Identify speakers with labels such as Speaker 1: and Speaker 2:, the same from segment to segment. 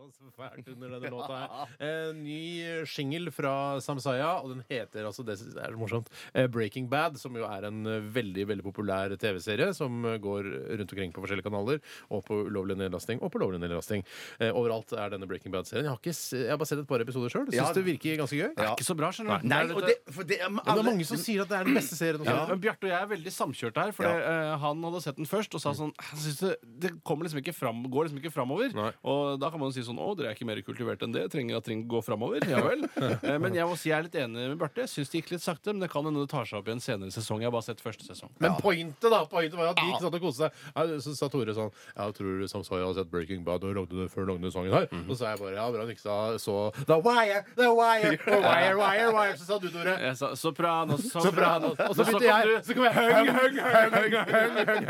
Speaker 1: oss fælt under denne låta her. Eh, ny shingle fra Samsaya, og den heter altså det synes jeg er så morsomt, eh, Breaking Bad, som jo er en eh, veldig veldig populær TV-serie som eh, går rundt omkring på forskjellige kanaler, og på ulovlig nedlasting og på lovlig nedlasting. Eh, overalt er denne Breaking Bad-serien. Jeg, har ikke s- jeg har bare sett et par episoder sjøl. Syns
Speaker 2: Ja.
Speaker 1: det virker ganske gøy.
Speaker 2: Ja.
Speaker 3: Ikke så bra, skjønner du.
Speaker 2: Nei,
Speaker 1: Det er
Speaker 2: og det,
Speaker 1: litt-
Speaker 2: for det, men
Speaker 1: Men det
Speaker 2: alle-
Speaker 1: er mange som sier at det er den beste serien.
Speaker 3: Ja.
Speaker 1: Ja.
Speaker 3: eh, men Bjarte og jeg er veldig samkjørte her. For
Speaker 2: Ja.
Speaker 3: det, eh, Han hadde sett den først og sa sånn «Jeg synes det, det kommer liksom ikke fram, går liksom ikke framover.
Speaker 1: Nei.
Speaker 3: Og da kan man jo si sånn Å, dere er ikke mer kultivert enn det. Trenger at ting går framover. Ja vel. Eh, men jeg må si jeg er litt enig med Bjarte. Jeg syns det gikk litt sakte, men det kan hende det tar seg opp i en senere sesong. Jeg har bare sett første sesong.
Speaker 1: Men pointet da, pointet var at de ikke satt og koste seg. Nei, Så sa Tore sånn Ja, tror du Samsaya har sett Breaking Bad og lagde det før han lagde den sangen her? Og så sa jeg bare ja, bra han ikke sa så The Wire, The Wire, og Wire, Wire, Wire. Så sa du, Tore.
Speaker 3: Jeg sa soprano,
Speaker 1: Så bra. nå».
Speaker 3: soprano.
Speaker 1: Og så
Speaker 3: Men
Speaker 1: begynte
Speaker 3: kan
Speaker 1: jeg.
Speaker 3: du-
Speaker 1: Så kom jeg høng, høng, høng, høng, høng, høng,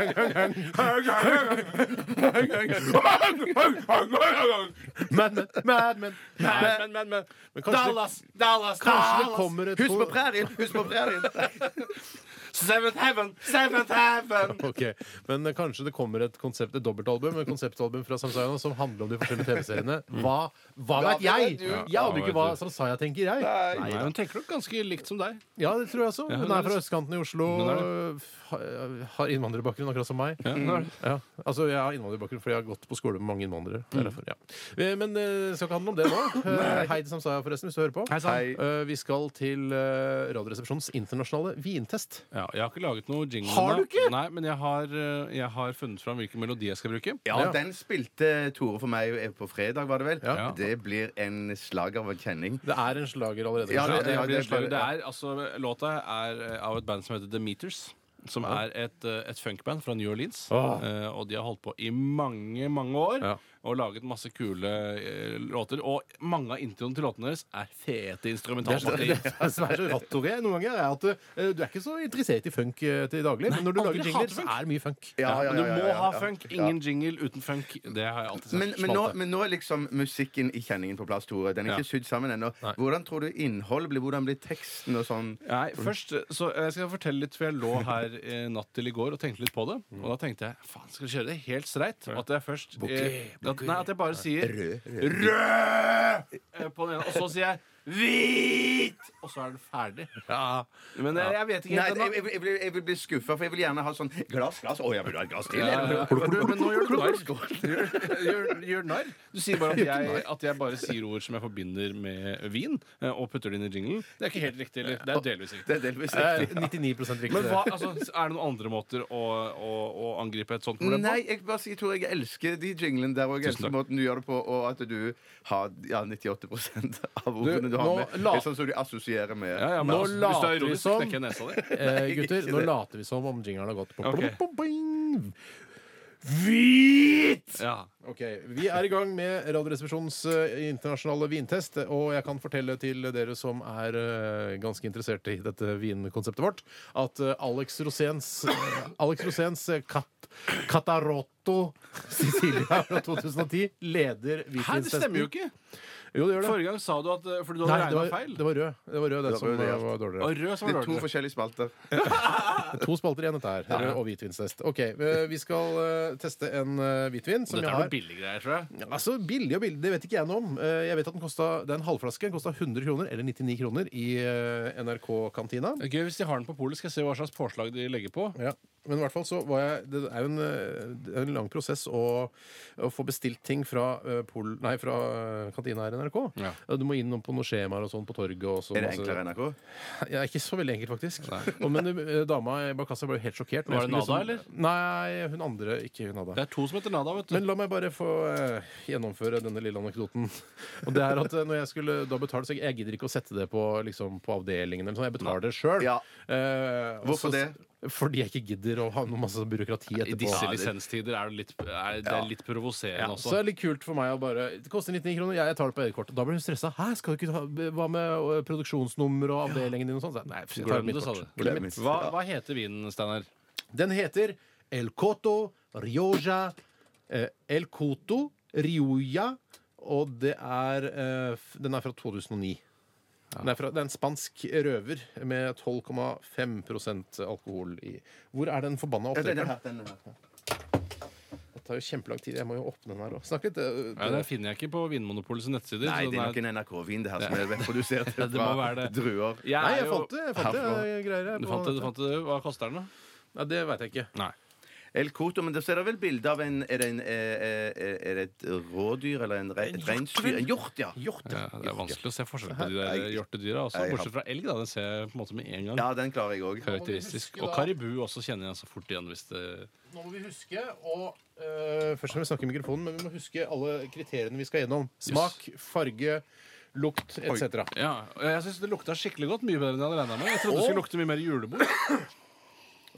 Speaker 1: høng, høng, høng. Mad Men, Mad Men.
Speaker 3: Nei, men, men, men.
Speaker 1: Men kanskje det,
Speaker 3: Dallas, Dallas,
Speaker 1: kanskje det
Speaker 3: Dallas.
Speaker 1: kommer et
Speaker 2: Husk på prærien! Husk på prærien!
Speaker 3: Seventh heaven, seventh heaven.
Speaker 1: Ok, Men eh, kanskje det kommer et konsept, et dobbeltalbum et konseptalbum fra Samsaya som handler om de forskjellige TV-seriene. Hva, hva
Speaker 2: Ja,
Speaker 1: vet jeg?
Speaker 2: det vet du.
Speaker 1: Jeg aner jo
Speaker 3: Ja,
Speaker 1: ikke
Speaker 3: Mm. vet
Speaker 1: hva
Speaker 3: du.
Speaker 1: Samsaya tenker, jeg.
Speaker 3: Nei, hun tenker nok ganske likt som deg.
Speaker 1: Ja, det tror jeg også. Hun
Speaker 3: hun
Speaker 1: er
Speaker 3: er
Speaker 1: fra
Speaker 3: det.
Speaker 1: østkanten i Oslo.
Speaker 3: Hun er
Speaker 1: ha- Har innvandrerbakgrunn, akkurat som meg.
Speaker 3: Ja, nå er det.
Speaker 1: Ja, altså Jeg har innvandrerbakgrunn fordi jeg har gått på skole med mange innvandrere.
Speaker 3: Mm.
Speaker 1: Det er derfor, ja. Eh, Men det skal ikke handle om det nå. Eh, Hei til Samsaya, forresten, hvis du hører på.
Speaker 2: Hei.
Speaker 1: Eh, Vi skal til eh, Radioresepsjonens internasjonale vintest.
Speaker 3: Ja, jeg har ikke laget noe jingle
Speaker 1: Har du
Speaker 3: ennå.
Speaker 1: ikke?
Speaker 3: Nei, men jeg har, eh, jeg har funnet fram hvilken melodi jeg skal bruke.
Speaker 2: Ja,
Speaker 1: Ja.
Speaker 2: den spilte Tore for meg på fredag, var det vel?
Speaker 1: Ja.
Speaker 2: Det blir en slager av en kjenning.
Speaker 1: Det er en slager allerede.
Speaker 2: Ja,
Speaker 3: Ja,
Speaker 1: kanskje?
Speaker 3: det,
Speaker 2: ja,
Speaker 3: blir
Speaker 2: det-
Speaker 3: slag.
Speaker 2: det-
Speaker 3: det er, altså, låta er eh, av et band som heter The Meters. Som er et, eh, et funkband fra New Orleans.
Speaker 1: Åh.
Speaker 3: Eh, og de har holdt på i mange, mange år.
Speaker 1: Ja.
Speaker 3: Og laget masse kule eh, låter. Og mange av introene til låtene deres er fete
Speaker 1: Det
Speaker 3: instrumentalpartier.
Speaker 1: er så rått, Tore, noen ganger er at du, eh, du er ikke så interessert i funk eh, til daglig, men når du
Speaker 3: aldri
Speaker 1: lager jingler,
Speaker 3: hater
Speaker 1: så
Speaker 3: funk.
Speaker 1: er det mye funk.
Speaker 2: Ja, ja, ja,
Speaker 3: Men du
Speaker 2: ja,
Speaker 3: må
Speaker 2: ja,
Speaker 3: ha
Speaker 2: ja.
Speaker 3: funk.
Speaker 2: Ja.
Speaker 3: Ingen jingle uten funk. Det har jeg alltid sagt.
Speaker 2: Men, men, nå,
Speaker 3: Smalte.
Speaker 2: men nå er liksom musikken i kjenningen på plass, Tore. Den er ikke
Speaker 3: Ja.
Speaker 2: sydd sammen ennå. Hvordan tror du innholdet blir? Hvordan blir teksten og sånn?
Speaker 3: Nei, først så jeg skal fortelle litt, for jeg lå her eh, natt til i går og tenkte litt på det.
Speaker 2: Mm.
Speaker 3: Og da tenkte jeg faen, skal vi kjøre det helt streit? Og At jeg først eh, at, Nei, at jeg bare sier
Speaker 2: Rød.
Speaker 3: rød eh, på den ene, og så sier jeg hvit! Og så er den ferdig. Men jeg, jeg vet ikke
Speaker 2: Nei,
Speaker 3: helt
Speaker 2: jeg,
Speaker 3: ennå.
Speaker 2: jeg, jeg, blir- jeg vil bli skuffa, for jeg vil gjerne ha sånn glass, glass. Å, jeg burde ha et glass til.
Speaker 3: Ja,
Speaker 2: jeg.
Speaker 3: ja, ja. Men nå gjør du narr. Gjør- Gjør narr. Du sier bare at jeg, at jeg bare sier ord som jeg forbinder med vin, eh, og putter det inn i jinglen. Det er ikke helt riktig. Eller? Det er delvis riktig.
Speaker 2: Det er delvis
Speaker 1: Eh,
Speaker 2: riktig.
Speaker 1: 99 riktig.
Speaker 3: Men hva, altså, er det noen andre måter å, å, å angripe et sånt problem på?
Speaker 2: Nei, jeg bare sier, Tore, jeg elsker de jinglene der, og jeg
Speaker 3: Tusen
Speaker 2: elsker
Speaker 3: takk.
Speaker 2: måten du gjør det på, og at du har ja, 98 av ordene du,
Speaker 1: Du,
Speaker 2: har
Speaker 1: nå
Speaker 2: med.
Speaker 1: la-
Speaker 2: Det er sånn som du assosierer med.
Speaker 3: Ja, ja, men
Speaker 1: Nå
Speaker 3: altså, hvis du er
Speaker 1: later vi
Speaker 3: ironisk,
Speaker 1: som-
Speaker 3: knekker jeg nesa di.
Speaker 1: Eh, gutter,
Speaker 2: ikke
Speaker 1: nå
Speaker 2: det.
Speaker 1: later vi som om jingeren har gått på
Speaker 3: Ok.
Speaker 1: Bom, bom, bing. Hvit!
Speaker 3: Ja.
Speaker 1: Ok, Vi er i gang med Radioresepsjonens eh, internasjonale vintest. Og jeg kan fortelle til dere som er eh, ganske interessert i dette vinkonseptet vårt, at eh, Alex Roséns Alex Roséns eh, Cat- Catarotto Sicilia fra 2010 leder
Speaker 3: Hæ, det
Speaker 1: vintesten.
Speaker 3: stemmer jo ikke!
Speaker 1: Jo, det gjør det.
Speaker 3: Forrige gang sa du at eh, Fordi du
Speaker 1: Nei, det
Speaker 3: hadde regna
Speaker 1: var,
Speaker 3: feil.
Speaker 1: det var rød. Det var rød, det,
Speaker 2: var
Speaker 1: som
Speaker 2: rød, ja.
Speaker 1: eh, var dårligere.
Speaker 3: Og rød som
Speaker 2: Det er
Speaker 3: var
Speaker 2: to
Speaker 3: dårligere.
Speaker 2: forskjellige spalter.
Speaker 1: To spalter igjen, dette her. Rød og hvitvinstest. OK, eh, vi skal eh, teste en eh, hvitvin som
Speaker 3: Dette
Speaker 1: jeg
Speaker 3: er
Speaker 1: har.
Speaker 3: noen billige greier, tror jeg.
Speaker 1: Ja, Altså, Billig og billig, det vet ikke jeg noe om. Eh, Jeg vet at den kosta, Det er en halvflaske. Den kosta 100 kroner, eller 99 kroner, i eh, NRK-kantina.
Speaker 3: Det er Gøy hvis de har den på polet. Skal jeg se hva slags påslag de legger på.
Speaker 1: Ja. Men i hvert fall så var jeg Det er jo en, eh, det er en lang prosess å, å få bestilt ting fra, eh, pol, nei, fra eh, kantina her i NRK.
Speaker 3: Ja.
Speaker 1: Eh, Du må inn på noen skjemaer og sånn på torget. Og så
Speaker 2: Er det
Speaker 1: masse-
Speaker 2: enklere NRK?
Speaker 1: Ja, ikke så veldig enkelt, faktisk. Og, men eh, dama i Bakassa ble jo helt sjokkert. når
Speaker 3: Var
Speaker 1: jeg
Speaker 3: det
Speaker 1: skulle
Speaker 3: Nada,
Speaker 1: liksom- Nei, hun andre. Ikke hun Nada.
Speaker 3: Det er to som heter Nada, vet du.
Speaker 1: Men la meg bare få eh, gjennomføre denne lille anekdoten. Og det er at eh, når jeg skulle da betale, så jeg- jeg gidder ikke å sette det på, liksom, på avdelingen eller sånn. Jeg betaler det Eh, sjøl.
Speaker 2: Ja. Hvorfor det?
Speaker 1: Fordi jeg ikke gidder å ha noe masse byråkrati
Speaker 3: I
Speaker 1: etterpå.
Speaker 3: disse
Speaker 2: Ja, det-
Speaker 3: lisenstider er det litt, er det er litt provoserende
Speaker 1: Ja, så
Speaker 3: også.
Speaker 1: er det litt kult for meg å bare Det koster 99 kroner, jeg, jeg tar det på eget kort. Da blir hun stressa. Hæ, skal du ikke ta, hva med eh, produksjonsnummer og avdelingen din og sånn? Så jeg, Nei, jeg tar
Speaker 3: Glem
Speaker 1: mitt
Speaker 3: det, sa
Speaker 1: kort.
Speaker 3: du.
Speaker 1: Glem
Speaker 2: Glem
Speaker 1: mitt.
Speaker 2: det.
Speaker 3: Hva, hva heter vinen, Steinar?
Speaker 1: Den heter El Coto Rioja eh, El Coto Rioja, og det er eh, f- Den er fra 2009. Den er fra, det er en spansk røver med 12,5 alkohol i. Hvor er den forbanna
Speaker 2: Ja, den
Speaker 1: oppdrekkeren?
Speaker 2: her, den her.
Speaker 1: Dette tar jo kjempelang tid. Jeg må jo åpne den her òg. Snakk litt. øh,
Speaker 3: Nei, det finner jeg ikke på Vinmonopolets nettsider.
Speaker 2: Nei,
Speaker 3: så
Speaker 2: det er nok
Speaker 3: den
Speaker 2: en NRK-vin, det her som er produsert
Speaker 3: sånn Ja, det må
Speaker 2: fra
Speaker 3: være det.
Speaker 2: druer.
Speaker 3: Jeg
Speaker 1: Nei,
Speaker 3: er
Speaker 1: jeg
Speaker 3: jo-
Speaker 1: fant det. Jeg fant det. Jeg greier her
Speaker 3: Du
Speaker 1: på
Speaker 3: fant det, du
Speaker 1: nettet.
Speaker 3: fant det. Hva koster den, da?
Speaker 1: Nei, det veit jeg ikke.
Speaker 3: Nei.
Speaker 2: El Coto, men så er det vel bilde av en Er det, en, eh, eh, er det et rådyr eller en, re, et reinsdyr? En hjort, ja.
Speaker 3: Ja, det er vanskelig å se forskjell på de der
Speaker 2: Nei.
Speaker 3: hjortedyra. Også,
Speaker 2: Nei, jeg
Speaker 3: bortsett fra elg, da. Den ser jeg på en måte med en gang.
Speaker 2: Ja, den klarer jeg òg.
Speaker 1: Nå må vi huske
Speaker 3: Karakteristisk. Og
Speaker 1: da-
Speaker 3: karibu også kjenner jeg så fort igjen hvis det
Speaker 1: Nå må vi huske å øh, Først skal vi snakke i mikrofonen, men vi må huske alle kriteriene vi skal gjennom. Smak, farge, lukt etc.
Speaker 3: Ja, og Jeg syns det lukta skikkelig godt. Mye bedre enn jeg hadde regna med. Jeg trodde det skulle lukte mye mer julebord.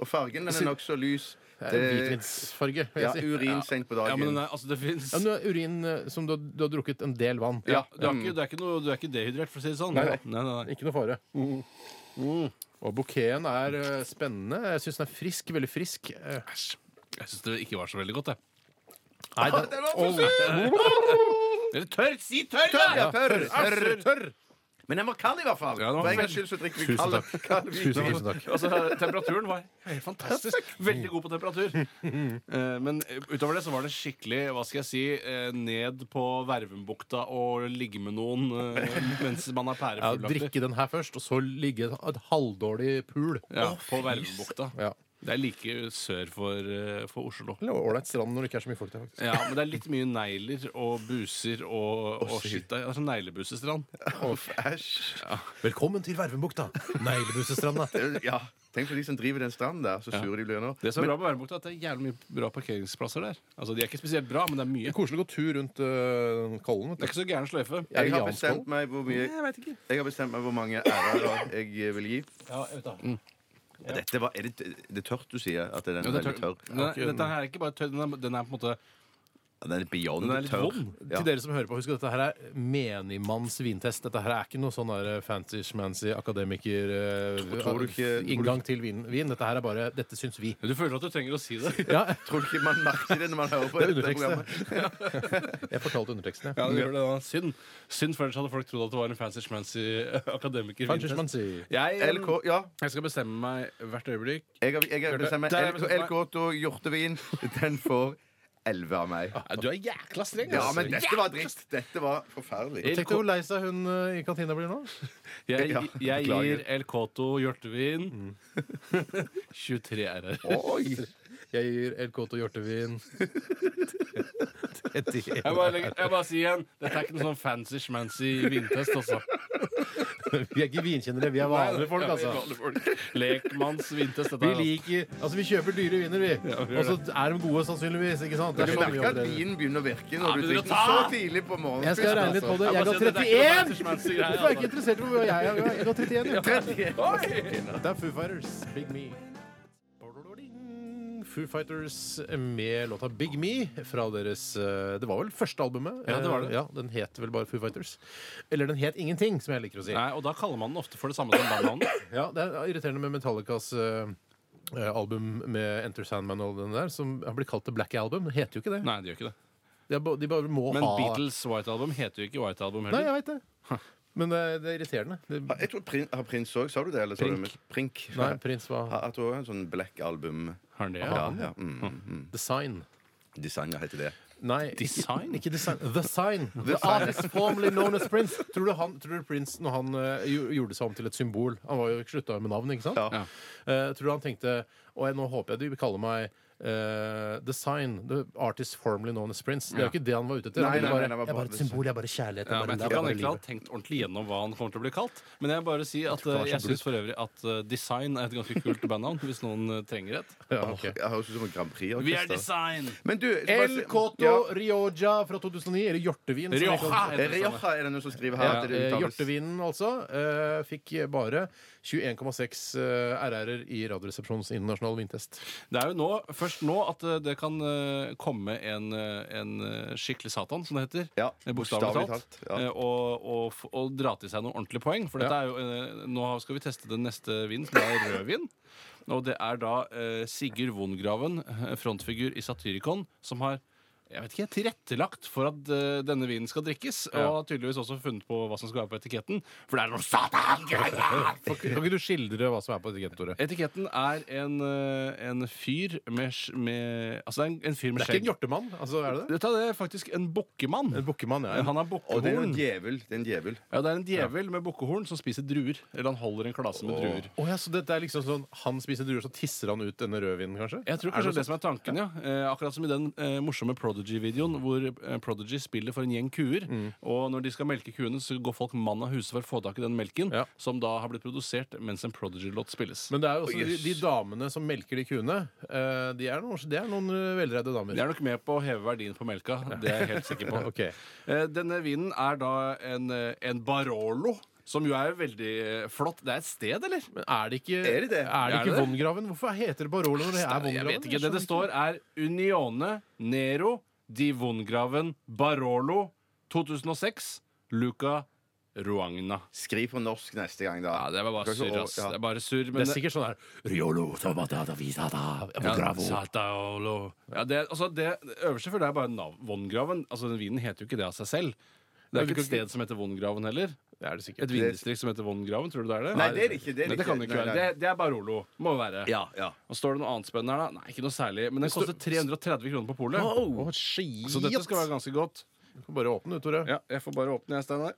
Speaker 2: Og fargen den er nokså lys. Eh,
Speaker 1: Det er Hvitvinsfarge, vil
Speaker 2: ja,
Speaker 1: jeg si.
Speaker 2: urin sent på dagen.
Speaker 3: Ja, men den er, altså, det fins
Speaker 1: Ja, men det er urin øh, som du har, du har drukket en del vann.
Speaker 3: ja, du, er ikke, du, er ikke noe, du er ikke dehydrert, for å si det sånn.
Speaker 1: Nei,
Speaker 3: nei, nei, nei.
Speaker 1: Ikke noe fare. Mm. Og bouqueten er øh, spennende. Jeg syns den er frisk. Veldig frisk. Eh,
Speaker 3: Æsj. Jeg syns det ikke var så veldig godt, jeg.
Speaker 1: Nei, den, Åh,
Speaker 3: Eller tørr! Si tørr,
Speaker 2: Tørr, ja,
Speaker 3: da!
Speaker 2: tørr, tørr.
Speaker 1: tørr!
Speaker 2: Men den var kald, i hvert fall.
Speaker 3: Ja, den var
Speaker 2: For en
Speaker 3: kald.
Speaker 2: gangs skyld så drikker vi
Speaker 1: Tusen
Speaker 2: kald,
Speaker 1: takk.
Speaker 2: kald vin.
Speaker 1: Tusen, tusen takk.
Speaker 3: Altså, temperaturen var helt fantastisk. Veldig god på temperatur. Eh, Men utover det så var det skikkelig hva skal jeg si, eh, ned på Vervenbukta og ligge med noen eh, mens man er
Speaker 1: Ja,
Speaker 3: pærefullaktig.
Speaker 1: drikke den her først, og så ligge et, et halvdårlig pul.
Speaker 3: Ja, på Vervenbukta.
Speaker 1: Ja.
Speaker 3: Det er like sør for, eh, for Oslo.
Speaker 1: Eller ålreit strand når det ikke er så mye folk der, faktisk.
Speaker 3: Ja, men det er litt mye negler og buser og, og skitt. Det er sånn neglebusestrand.
Speaker 2: Uff, æsj.
Speaker 1: Velkommen til Vervenbukta! Neglebusestranda.
Speaker 2: Ja, tenk på de som driver den stranden der, så sure de blir nå.
Speaker 3: Det som er bra med Vervenbukta, er at det er jævlig mye bra parkeringsplasser der. Altså, De er ikke spesielt bra, men det er mye.
Speaker 1: Koselig å gå tur rundt øh, kollen. vet
Speaker 3: Det er
Speaker 1: du.
Speaker 3: ikke så gæren
Speaker 1: Er
Speaker 3: sløyfe.
Speaker 2: Jeg
Speaker 1: det
Speaker 2: har
Speaker 1: Janskoll?
Speaker 2: bestemt meg hvor mye
Speaker 3: Jeg vet ikke.
Speaker 2: Jeg har bestemt meg hvor mange ærer jeg eh, vil gi.
Speaker 3: Ja, jeg vet da.
Speaker 2: Dette var, er det, det er tørt du sier? At den er
Speaker 3: Mm. Ja, det er
Speaker 2: veldig
Speaker 3: tørr.
Speaker 2: tørr?
Speaker 3: Den er, dette her er ikke bare tørr, den er, den er på en måte
Speaker 2: Ja, Den er beyond
Speaker 3: Den er litt
Speaker 2: tørr.
Speaker 3: vond.
Speaker 2: Ja.
Speaker 1: Til dere som hører på, husk at dette her er menigmanns vintest. Dette her er ikke noe sånn der fancy-schmancy
Speaker 2: tror du ikke-
Speaker 1: akademiker-inngang eh, til vin, vin. Dette her er bare 'dette syns vi'.
Speaker 3: Du føler at du trenger å si det.
Speaker 1: Ja,
Speaker 2: Tror du ikke man merker det når man hører på
Speaker 1: Det er
Speaker 2: dette
Speaker 1: undertekst, det.
Speaker 2: programmet?
Speaker 1: jeg fortalte underteksten,
Speaker 3: Ja, det gjør det da. Synd. Synd, for ellers hadde folk trodd at det var en fancy-schmancy akademiker.
Speaker 1: Fancy-schmancy.
Speaker 3: Jeg, eh,
Speaker 2: LK, ja.
Speaker 3: jeg skal bestemme meg hvert øyeblikk.
Speaker 2: Jeg har, jeg har bestemt meg.
Speaker 3: Der har jeg
Speaker 2: LK,
Speaker 3: bestemt meg.
Speaker 2: LK og hjortevin, den får 11 av meg.
Speaker 3: Nei, Du er jækla streng.
Speaker 2: Ja,
Speaker 3: altså.
Speaker 2: men dette var dritt. Dette var forferdelig.
Speaker 1: Tenk deg hvor lei seg hun øh, i kantina blir nå.
Speaker 3: Jeg,
Speaker 2: Ja,
Speaker 3: jeg
Speaker 2: beklager.
Speaker 3: gir El Coto hjortevin 23 RR.
Speaker 2: Oi!
Speaker 1: Jeg gir El Coto hjortevin.
Speaker 3: Jeg bare, legger- jeg bare sier igjen, dette er ikke noen sånn fancy-schmancy vintest, altså.
Speaker 1: Vi er ikke vinkjennere, vi er vanlige folk, altså.
Speaker 3: Lekmanns vintest, dette
Speaker 1: Vi
Speaker 3: her. altså.
Speaker 1: liker Altså, vi kjøper dyre viner, vi.
Speaker 3: Ja, vi gjør
Speaker 1: Og så er de gode, sannsynligvis. Ikke sant? Det er
Speaker 2: Du
Speaker 1: så mye
Speaker 2: merker
Speaker 1: av
Speaker 2: at
Speaker 1: det.
Speaker 2: vinen begynner å virke når du
Speaker 3: begynner å
Speaker 2: drikker
Speaker 3: ta!
Speaker 2: så tidlig på morgenen.
Speaker 1: Jeg skal regne litt på det. Jeg
Speaker 3: Jeg
Speaker 1: ga
Speaker 3: bare sier at dette
Speaker 1: 31! Hvorfor er jeg ikke
Speaker 3: er ikke noen fancy-schmancy greie, altså.
Speaker 1: interessert i hvor jeg er? Jeg ga 31. ja.
Speaker 3: Oi!
Speaker 1: Det er Foo Fighters, Big Me. Foo Fighters med låta Big Me fra deres eh, Det var vel første albumet?
Speaker 3: Ja, det var det.
Speaker 1: Eh, Ja, Den het vel bare Foo Fighters. Eller den het ingenting, som jeg liker å si.
Speaker 3: Nei, og da kaller man den ofte for det samme som bandnavnet.
Speaker 1: Ja, Det er irriterende med Metallicas eh, eh, album med Enter Sandman og den der, som har blitt kalt The Black Album. Det heter jo ikke det.
Speaker 3: Nei, det gjør ikke det.
Speaker 1: De, er ba- de bare må
Speaker 3: Men
Speaker 1: ha
Speaker 3: Beatles White Album heter jo ikke White Album
Speaker 1: Nei,
Speaker 3: heller.
Speaker 1: jeg veit det. Men det, er- det er irriterende. Det,
Speaker 2: Jeg tror prin, Har Prins òg, sa du det? Eller sa du
Speaker 1: Prink.
Speaker 2: med- Prink.
Speaker 1: nei, Prins var
Speaker 2: Jeg tror en sånn black album.
Speaker 3: Har den det?
Speaker 2: Ja, ja. Mm, mm.
Speaker 1: The Sign.
Speaker 2: Designer heter det.
Speaker 1: Nei,
Speaker 3: Design?
Speaker 1: ikke design. The Sign. The artist formerly known as Prince. Tror du, han, tror du Prince, når han eh, gjo- gjorde seg om til et symbol Han var jo slutta med navn, ikke sant?
Speaker 2: Ja.
Speaker 3: Ja.
Speaker 1: Eh, tror du han tenkte Og jeg, nå håper jeg de kaller meg eh, The Sign. The artist formerly known as Prince. Det er jo ikke det han var ute etter.
Speaker 2: Nei,
Speaker 1: han ville
Speaker 2: nei, nei,
Speaker 1: bare,
Speaker 2: nei, det var
Speaker 1: jeg er
Speaker 2: bare
Speaker 1: bare et
Speaker 2: det.
Speaker 1: symbol. Jeg er bare kjærlighet.
Speaker 3: Ja,
Speaker 1: Jeg er
Speaker 3: men
Speaker 1: bare, jeg er
Speaker 3: jeg tror ikke han
Speaker 1: bare
Speaker 3: egentlig hadde
Speaker 1: livet.
Speaker 3: tenkt ordentlig gjennom hva han kommer til å bli kalt. Men jeg bare si at
Speaker 1: ikke han
Speaker 3: eh,
Speaker 1: var
Speaker 3: jeg
Speaker 1: så
Speaker 3: syns for øvrig at eh, Design er et ganske kult bandnavn, hvis noen eh, trenger et.
Speaker 1: Ja, ok.
Speaker 2: Jeg høres ut som et Grand
Speaker 3: Vi er
Speaker 2: Prix-orkester.
Speaker 3: Design!
Speaker 2: Men du
Speaker 1: El Coto
Speaker 2: Ja.
Speaker 1: Rioja fra 2009, eller Hjortevin. som jeg
Speaker 3: Rioja!
Speaker 1: kaller det.
Speaker 2: Er det Rioja er det noen som skriver her?
Speaker 1: Ja,
Speaker 2: at det
Speaker 1: eh,
Speaker 2: uttales?
Speaker 1: Hjortevinen, altså, eh, fikk bare 21,6 eh, RR-er i Radioresepsjonens internasjonale vintest.
Speaker 3: Det er jo nå, først nå at eh, det kan eh, komme en, eh, en eh, skikkelig satan, som det heter.
Speaker 2: Ja,
Speaker 3: Eh, Bokstavelig
Speaker 2: bokstavelig
Speaker 3: talt.
Speaker 2: talt, ja.
Speaker 3: eh, Og, og, f- og dra til seg noen ordentlige poeng. For dette
Speaker 1: Ja.
Speaker 3: er jo, eh, nå skal vi teste den neste vinen, som er rødvin. Og det er da eh, Sigurd Vongraven, eh, frontfigur i Satyricon, som har jeg vet ikke, tilrettelagt for at eh, denne vinen skal drikkes.
Speaker 1: Ja.
Speaker 3: Og har tydeligvis også funnet på hva som skal være på etiketten. For det er noe satan-greier!
Speaker 1: Kan ikke du skildre hva som er på etiketten, Tore?
Speaker 3: Etiketten er en, eh, en fyr med, sk- med Altså det er en, en fyr
Speaker 1: Det er
Speaker 3: med
Speaker 1: ikke
Speaker 3: skjegg.
Speaker 1: en hjortemann? Altså, er det det?
Speaker 3: Dette er faktisk en bukkemann.
Speaker 1: En bukkemann, ja.
Speaker 3: Han
Speaker 2: Og
Speaker 3: har
Speaker 2: det er jo en
Speaker 3: bukkehorn.
Speaker 2: djevel. Det er en djevel.
Speaker 3: Ja, det er en djevel med bukkehorn som spiser druer. Eller han holder en klase med druer.
Speaker 1: Å ja, så dette er liksom sånn Han spiser druer, så tisser han ut denne rødvinen, kanskje?
Speaker 3: Jeg tror kanskje det er det som er tanken, ja. Eh, akkurat som i den eh, morsomme Prodigy-videoen hvor eh, Prodigy spiller for en gjeng kuer.
Speaker 1: Mm.
Speaker 3: Og når de skal melke kuene, så går folk mann av huset for å få tak i den melken,
Speaker 1: Ja.
Speaker 3: som da har blitt produsert mens en Prodigy-låt spilles.
Speaker 1: Men det er jo også
Speaker 2: Å,
Speaker 1: de,
Speaker 2: jøss.
Speaker 1: de damene som melker de kuene, eh, de er noen, det er noen eh, velredde damer.
Speaker 3: det er nok med på å heve verdien på melka. Det er jeg helt sikker på.
Speaker 1: Ok.
Speaker 3: Eh, Denne vinen er da en, eh, en Barolo, som jo er veldig eh, flott. Det er et sted, eller?
Speaker 1: Men er det ikke,
Speaker 2: Er det det?
Speaker 1: Er det
Speaker 3: Er
Speaker 1: ikke
Speaker 3: det det?
Speaker 1: Von Graven? Hvorfor heter det Barolo når det er Von
Speaker 3: Jeg
Speaker 1: Graven?
Speaker 3: vet ikke. Det det står, er Unione Nero di Vongraven Barolo 2006 Luca Ruagna.
Speaker 2: Skriv på norsk neste gang, da.
Speaker 3: Ja, det var bare
Speaker 2: Kanskje-
Speaker 3: surr, ass.
Speaker 2: ja.
Speaker 3: Det er bare surr.
Speaker 1: Det
Speaker 3: Men
Speaker 1: er sikkert sånn her
Speaker 3: ja, Sataolo. ja, det, altså, det øverste for det er bare navn. Vongraven. Altså, den vinen heter jo ikke det av seg selv. Det er jo ikke et sted som heter Vongraven heller.
Speaker 1: Det er det sikkert.
Speaker 3: Et vindistrikt som heter Vongraven, tror du det er det?
Speaker 2: Nei, det er det ikke. Det, er
Speaker 3: Nei, det kan det ikke
Speaker 2: Nei,
Speaker 3: være.
Speaker 2: nei.
Speaker 3: Det, det er Barolo. Må være.
Speaker 2: Ja, ja.
Speaker 3: Og står det noe annet spennende her, da? Nei, ikke noe særlig. Men den koster 330 kroner på polet.
Speaker 1: Å, shit.
Speaker 3: Så dette skal være ganske godt.
Speaker 1: Du kan bare åpne, du, Tore.
Speaker 3: Ja, jeg får bare åpne, jeg, Steinar.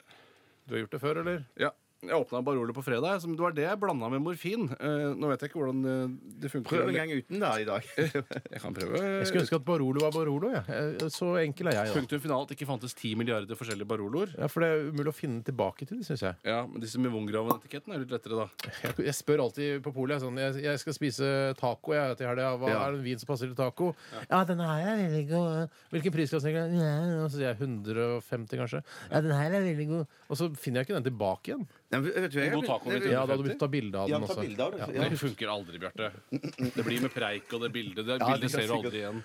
Speaker 1: Du har gjort det før, eller?
Speaker 3: Ja. Jeg åpna Barolo på fredag. Som det var det jeg blanda med morfin. Eh, nå vet jeg ikke hvordan eh, det funker.
Speaker 2: Prøv en gang uten, da, i dag.
Speaker 3: Jeg kan prøve.
Speaker 1: Jeg skulle ønske at Barolo var Barolo. Ja. Eh, Så enkel er jeg. Da.
Speaker 3: Punktum finalt ikke fantes 10 milliarder forskjellige Baroloer.
Speaker 1: Ja, For det er umulig å finne tilbake til det, syns jeg.
Speaker 3: Ja, men disse med Wongraven-etiketten er litt lettere, da.
Speaker 1: jeg. Jeg spør alltid på polet. jeg er Sånn, jeg, jeg skal spise taco jeg, til helga. Hva
Speaker 2: Ja.
Speaker 1: er det en vin som passer til taco? Ja, denne her er veldig god. Hvilken prisklasse er det? Ja, og så sier jeg 150, kanskje. Ja, den her er veldig god. Og så finner jeg ikke den tilbake igjen.
Speaker 2: Nei, men vet du, jeg-
Speaker 3: En god taco,
Speaker 2: Nei,
Speaker 3: vet du.
Speaker 1: Ja, da hadde du begynt å ta bilde av
Speaker 2: Ja,
Speaker 1: den
Speaker 2: ta
Speaker 1: også.
Speaker 2: bilde av det,
Speaker 1: Ja.
Speaker 2: så-
Speaker 3: Det funker aldri, Bjarte. Det blir med preik og det bildet. Det
Speaker 2: det
Speaker 3: bildet
Speaker 2: kan
Speaker 3: ser du aldri igjen.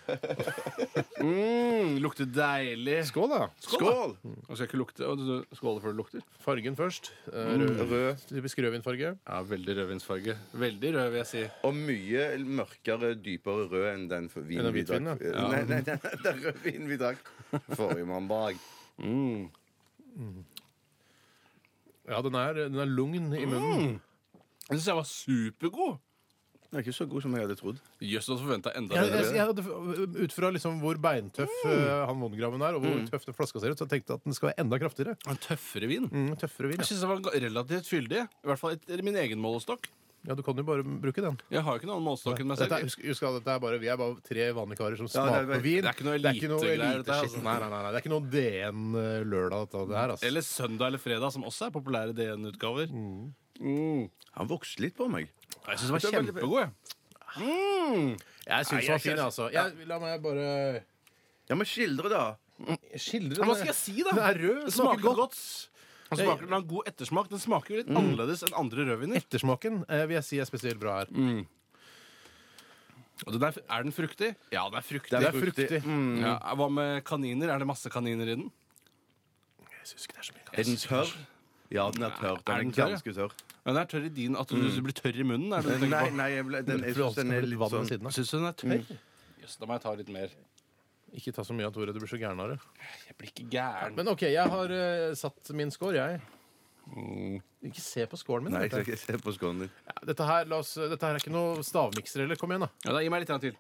Speaker 3: Mm, lukter deilig.
Speaker 1: Skål, da.
Speaker 2: Skål!
Speaker 3: Og skal jeg ikke lukte. Å, du- du- Skåle før det lukter.
Speaker 1: Fargen først. Eh, Rød.
Speaker 2: Rød
Speaker 1: Typisk rødvinfarge.
Speaker 3: Ja, Veldig rødvinsfarge. Veldig rød, vil jeg si.
Speaker 2: og mye mørkere, dypere rød enn den f- vinen
Speaker 1: den
Speaker 2: vi
Speaker 1: hvitvinen,
Speaker 2: drakk. Eh, Nei, nei, den, den rødvinen vi drakk forrige mandag.
Speaker 3: Mm.
Speaker 1: Ja, den er, den er lugn i
Speaker 2: Mm.
Speaker 1: munnen.
Speaker 3: Mm. Jeg syns jeg var supergod.
Speaker 2: Den er ikke så god som jeg hadde trodd.
Speaker 3: Jøss, du hadde forventa enda
Speaker 1: Jeg,
Speaker 3: bedre.
Speaker 1: jeg, jeg, hadde- ut fra liksom hvor beintøff
Speaker 2: Mm.
Speaker 1: eh, han Mongraven er, og hvor tøff den flaska ser ut, så jeg tenkte jeg at den skal være enda kraftigere.
Speaker 3: En tøffere vin.
Speaker 1: Mm, tøffere vin.
Speaker 3: Jeg
Speaker 1: Ja.
Speaker 3: syns den var relativt fyldig. I hvert fall etter min egen målestokk.
Speaker 1: ja, du kan jo bare bruke den.
Speaker 3: Jeg har jo ikke noen annen målestokk enn meg
Speaker 1: Dette er,
Speaker 3: selv.
Speaker 1: husk, husk at dette er bare, vi er bare tre vanlige karer som
Speaker 2: Ja,
Speaker 1: smaker
Speaker 2: det er-
Speaker 1: vin.
Speaker 3: det er ikke noe elitegreier, dette her,
Speaker 1: eliteshit.
Speaker 3: altså.
Speaker 1: Nei, nei, nei, nei, det er ikke noe DN lørdag, dette det her. Altså.
Speaker 3: Eller søndag eller fredag, som også er populære DN-utgaver.
Speaker 1: Mm.
Speaker 2: Han vokste litt på meg.
Speaker 3: Jeg syns den var kjempegod. jeg.
Speaker 1: jeg syns den var fin, altså. Jeg, la meg bare
Speaker 2: Ja, men skildre, da.
Speaker 1: skildre
Speaker 3: Men Hva skal jeg si, da?
Speaker 1: Den er rød,
Speaker 3: Den
Speaker 1: smaker
Speaker 3: smaker
Speaker 1: godt.
Speaker 3: godt. Mm. Den smaker den har god ettersmak. Den smaker jo litt annerledes enn andre rødviner.
Speaker 1: Ettersmaken eh, vil jeg si er spesielt bra her.
Speaker 2: Mm.
Speaker 3: Og den er, er den fruktig? Ja, den er fruktig.
Speaker 1: Det er
Speaker 2: fruktig.
Speaker 1: fruktig.
Speaker 3: Ja, hva med kaniner? Er det masse kaniner i den?
Speaker 1: Jeg syns ikke det er så mye.
Speaker 2: Er den tørr? Ja, den er tørr. Den
Speaker 3: Er
Speaker 2: er,
Speaker 3: den tørr, ja?
Speaker 2: ganske tørr.
Speaker 3: Den er tørr i din at du, du blir tørr i munnen? Er det du
Speaker 2: Nei,
Speaker 3: tenker på?
Speaker 2: nei, jeg, ble, den, jeg
Speaker 1: For det
Speaker 2: synes den er
Speaker 1: alltid
Speaker 2: litt
Speaker 1: vann ved
Speaker 2: sånn
Speaker 1: siden av.
Speaker 3: Syns du den er tørr? Mm. Jøss, da må jeg ta litt mer.
Speaker 1: Ikke ta så mye av Tore, du blir så gæren av det.
Speaker 2: Mm.
Speaker 3: Jeg blir ikke gæren.
Speaker 1: Men OK, jeg har eh, satt min score, jeg. Ikke se på scoren min.
Speaker 2: Mm. Nei, jeg
Speaker 1: dette.
Speaker 2: skal ikke se på skålen din.
Speaker 1: Ja, Dette, her, la oss, dette her er ikke noe stavmikser, eller? Kom igjen, da.
Speaker 3: Ja, da, gi meg litt grann til.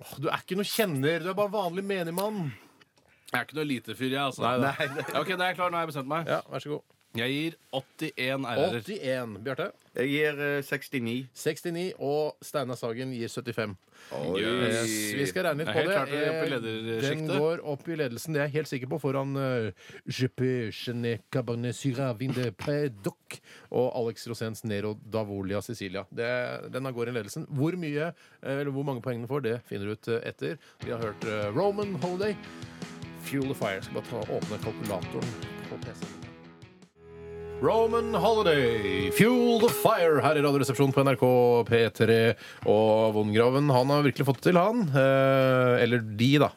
Speaker 1: Åh, Du er ikke noe kjenner, du er bare vanlig menigmann.
Speaker 3: Jeg er ikke noe lite fyr, jeg, altså. Ja, Ok, da er jeg klar. Nå har jeg bestemt meg.
Speaker 1: Ja, vær så god.
Speaker 3: Jeg gir 81 RR-er.
Speaker 1: 81. Bjarte?
Speaker 2: Jeg gir eh, 69.
Speaker 1: 69. Og Steinar Sagen gir 75.
Speaker 2: Oi.
Speaker 1: Yes, vi skal regne litt
Speaker 3: Det
Speaker 1: på
Speaker 3: er helt klart det er opp i
Speaker 1: det. Eh, Den
Speaker 3: ledersjiktet.
Speaker 1: går opp i ledelsen, det er jeg helt sikker på, foran eh, Je peux, je ne cabernet syrah, vin de Prédoc og Alex Rosens Nero Davolia Sicilia. Det, den går i ledelsen. Hvor mye, eh, eller hvor mange poeng den får, det finner du ut eh, etter. Vi har hørt eh, Roman Holiday, Fuel the Fire. Jeg skal bare ta, åpne kalkulatoren på PC-en. Roman Holiday, Fuel the Fire her i Radioresepsjonen på NRK P3. Og Vongraven, han har virkelig fått det til, han. Eh, eller de, da.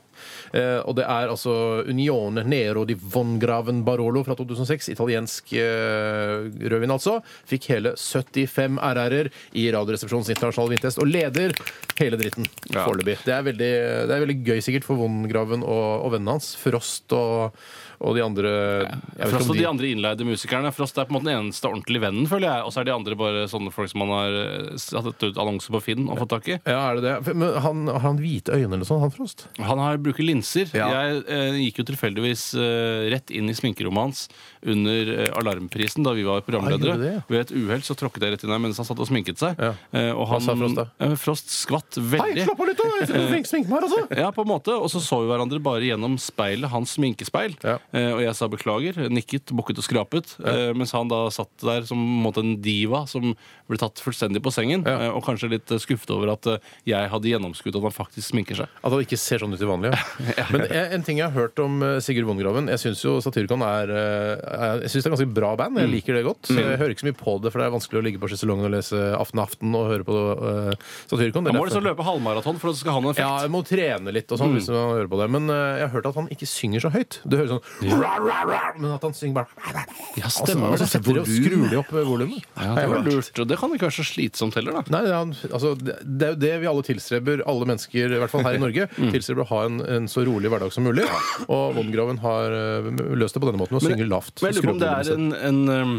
Speaker 1: Eh, og det er altså Unione Nero di Von Graven Barolo fra 2006. Italiensk eh, rødvin, altså. Fikk hele 75 RR-er i Radioresepsjonens internasjonale vintest, og leder hele dritten
Speaker 3: Ja.
Speaker 1: foreløpig. Det, er veldig- det er veldig gøy sikkert for Von Graven og, og vennene hans. Frost og, og de andre jeg vet ikke
Speaker 3: Frost
Speaker 1: om
Speaker 3: og de andre innleide musikerne. Frost er på en måte den eneste ordentlige vennen, føler jeg. Og så er de andre bare sånne folk som man har eh, satt ut annonser på Finn og fått tak i.
Speaker 1: Ja, er det det? Men han, har han hvite øyne eller sånn, han Frost?
Speaker 3: Han har bruker linser.
Speaker 1: Ja.
Speaker 3: Jeg eh, gikk jo tilfeldigvis eh, rett inn i sminkerommet hans under eh, alarmprisen da vi var
Speaker 1: Ah, gjorde du
Speaker 3: programledere.
Speaker 1: det?
Speaker 3: Ved et uhell så tråkket jeg rett inn her mens han satt og sminket seg.
Speaker 1: Ja.
Speaker 3: Eh, og
Speaker 1: Hva
Speaker 3: han,
Speaker 1: sa Frost da?
Speaker 3: Eh, Frost skvatt
Speaker 1: Hei,
Speaker 3: veldig.
Speaker 1: slapp av litt, da! Jeg skal smink- sminke meg her, altså!
Speaker 3: Ja, på en måte, Og så så vi hverandre bare gjennom speilet, hans sminkespeil.
Speaker 1: Ja.
Speaker 3: Eh, og jeg sa beklager, nikket, bukket og skrapet. Eh, mens han da satt der som på en, måte, en diva som ble tatt fullstendig på sengen.
Speaker 1: Ja.
Speaker 3: Eh, og kanskje litt eh, skuffet over at eh, jeg hadde gjennomskuet at han faktisk sminker seg.
Speaker 1: At han ikke ser sånn ut til vanlig. Ja. Men en en ting jeg har hørt om eh, Sigurd Vongraven Jeg syns jo Satyricon er, eh, er Jeg synes det er ganske bra band. Jeg liker det godt. Så jeg hører ikke så mye på det, for det er vanskelig å ligge på sjeselongen og lese Aften Aften og høre på uh, Satyricon. Det er
Speaker 3: Han
Speaker 1: derfor-
Speaker 3: må liksom løpe halvmaraton for at det skal ha noen
Speaker 1: ja,
Speaker 3: effekt.
Speaker 1: jeg må trene litt og sånn hvis man hører på det. Men eh, jeg har hørt at han ikke synger så høyt. Det høres sånn "Ra, ra, ra", Men at han synger bare
Speaker 3: Ja,
Speaker 1: Og så setter de og skrur de opp eh, volumet.
Speaker 3: Ja, det var lurt. Og det kan ikke være så slitsomt heller, da.
Speaker 1: Nei, det er han- altså, det det er jo det vi alle tilstreber, alle mennesker, i hvert fall her i Norge,
Speaker 3: Mm.
Speaker 1: tilstreber å ha en, en så rolig hverdag som mulig. Og Von Graven har eh, løst det på denne måten, ved å synge lavt.
Speaker 3: Men jeg lurer på om det
Speaker 1: Skru opp
Speaker 3: er en, en um,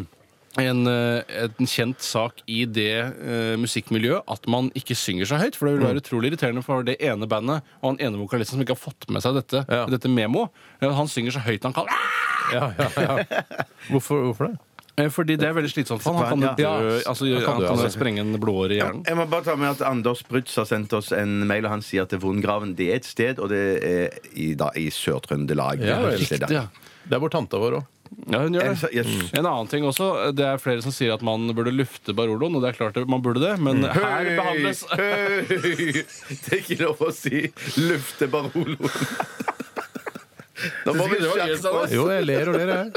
Speaker 3: en, eh, en kjent sak i det eh, musikkmiljøet at man ikke synger så høyt. For det vil være utrolig irriterende for det ene bandet og han ene vokalisten som ikke har fått med seg dette,
Speaker 1: Ja.
Speaker 3: dette memo. Eh, Han synger så høyt han kan.
Speaker 1: Ja, ja, ja. Hvorfor, hvorfor det?
Speaker 3: Eh, Fordi det er veldig slitsomt for han. Han kan
Speaker 2: Ja.
Speaker 3: dø, altså,
Speaker 1: Han kan
Speaker 3: han
Speaker 1: dø,
Speaker 3: kan
Speaker 1: altså.
Speaker 3: sprenge en blodåre i hjernen.
Speaker 2: Jeg må bare ta med at Anders Brutz har sendt oss en mail, og han sier at det er Vondgraven det er et sted, og det er i, da, i Sør-Trøndelag.
Speaker 1: Ja,
Speaker 2: Det er et
Speaker 1: riktig,
Speaker 2: sted,
Speaker 3: Ja.
Speaker 2: da.
Speaker 1: Det er vår tante vår òg.
Speaker 3: Ja, hun gjør
Speaker 2: Er det
Speaker 3: det.
Speaker 2: så- yes.
Speaker 3: En annen ting også, det er flere som sier at man burde lufte Baroloen, og det er klart det- man burde det, men her behandles
Speaker 2: Høy! Det er ikke lov å si 'lufte Baroloen'. Nå må vi skjerpe oss
Speaker 1: Jo, jeg ler og ler, jeg.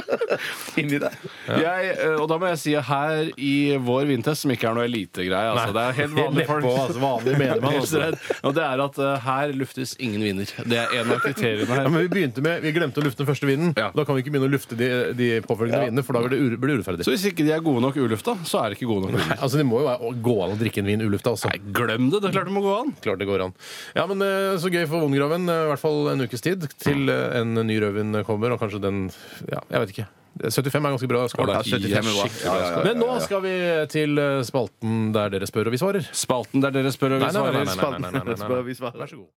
Speaker 2: inni det.
Speaker 3: Jeg, eh, og da må jeg si her i vår vintest, som ikke er noe elitegreie altså, Det er helt vanlige folk.
Speaker 1: vanlig
Speaker 3: Helt
Speaker 1: altså.
Speaker 3: altså. rett. Og det er at eh, her luftes ingen vinner. Det er en av kriteriene
Speaker 1: Ja,
Speaker 3: her.
Speaker 1: men vi begynte med, vi glemte å lufte den første vinden.
Speaker 3: Ja.
Speaker 1: Da kan vi ikke begynne å lufte de, de påfølgende vindene, for da blir det, ure, blir det urettferdig.
Speaker 3: Så hvis ikke de er gode nok ulufta, så er det ikke gode nok vinner.
Speaker 1: Altså, Det må jo være, gå an å drikke en vin altså. ulufta også.
Speaker 3: Nei, glem det! Det er klart det må gå an.
Speaker 1: Klart det går an. Ja, men eh, Så gøy for Vongraven. eh, I hvert fall en ukes tid til eh, en ny rødvin kommer. Og kanskje den Ja, jeg vet ikke. 75 er ganske bra. Skål.
Speaker 2: Ja, 75
Speaker 1: Skikkelig
Speaker 2: er bra.
Speaker 1: bra
Speaker 2: Ja, ja, ja,
Speaker 1: skål.
Speaker 2: ja, ja.
Speaker 1: Men nå skal vi til eh, spalten der dere spør og vi svarer.
Speaker 3: Spalten der dere spør og vi svarer.
Speaker 1: Nei, nei, nei, nei, nei, nei, nei, nei, nei.
Speaker 2: Spør vi svarer.
Speaker 1: Vær så god.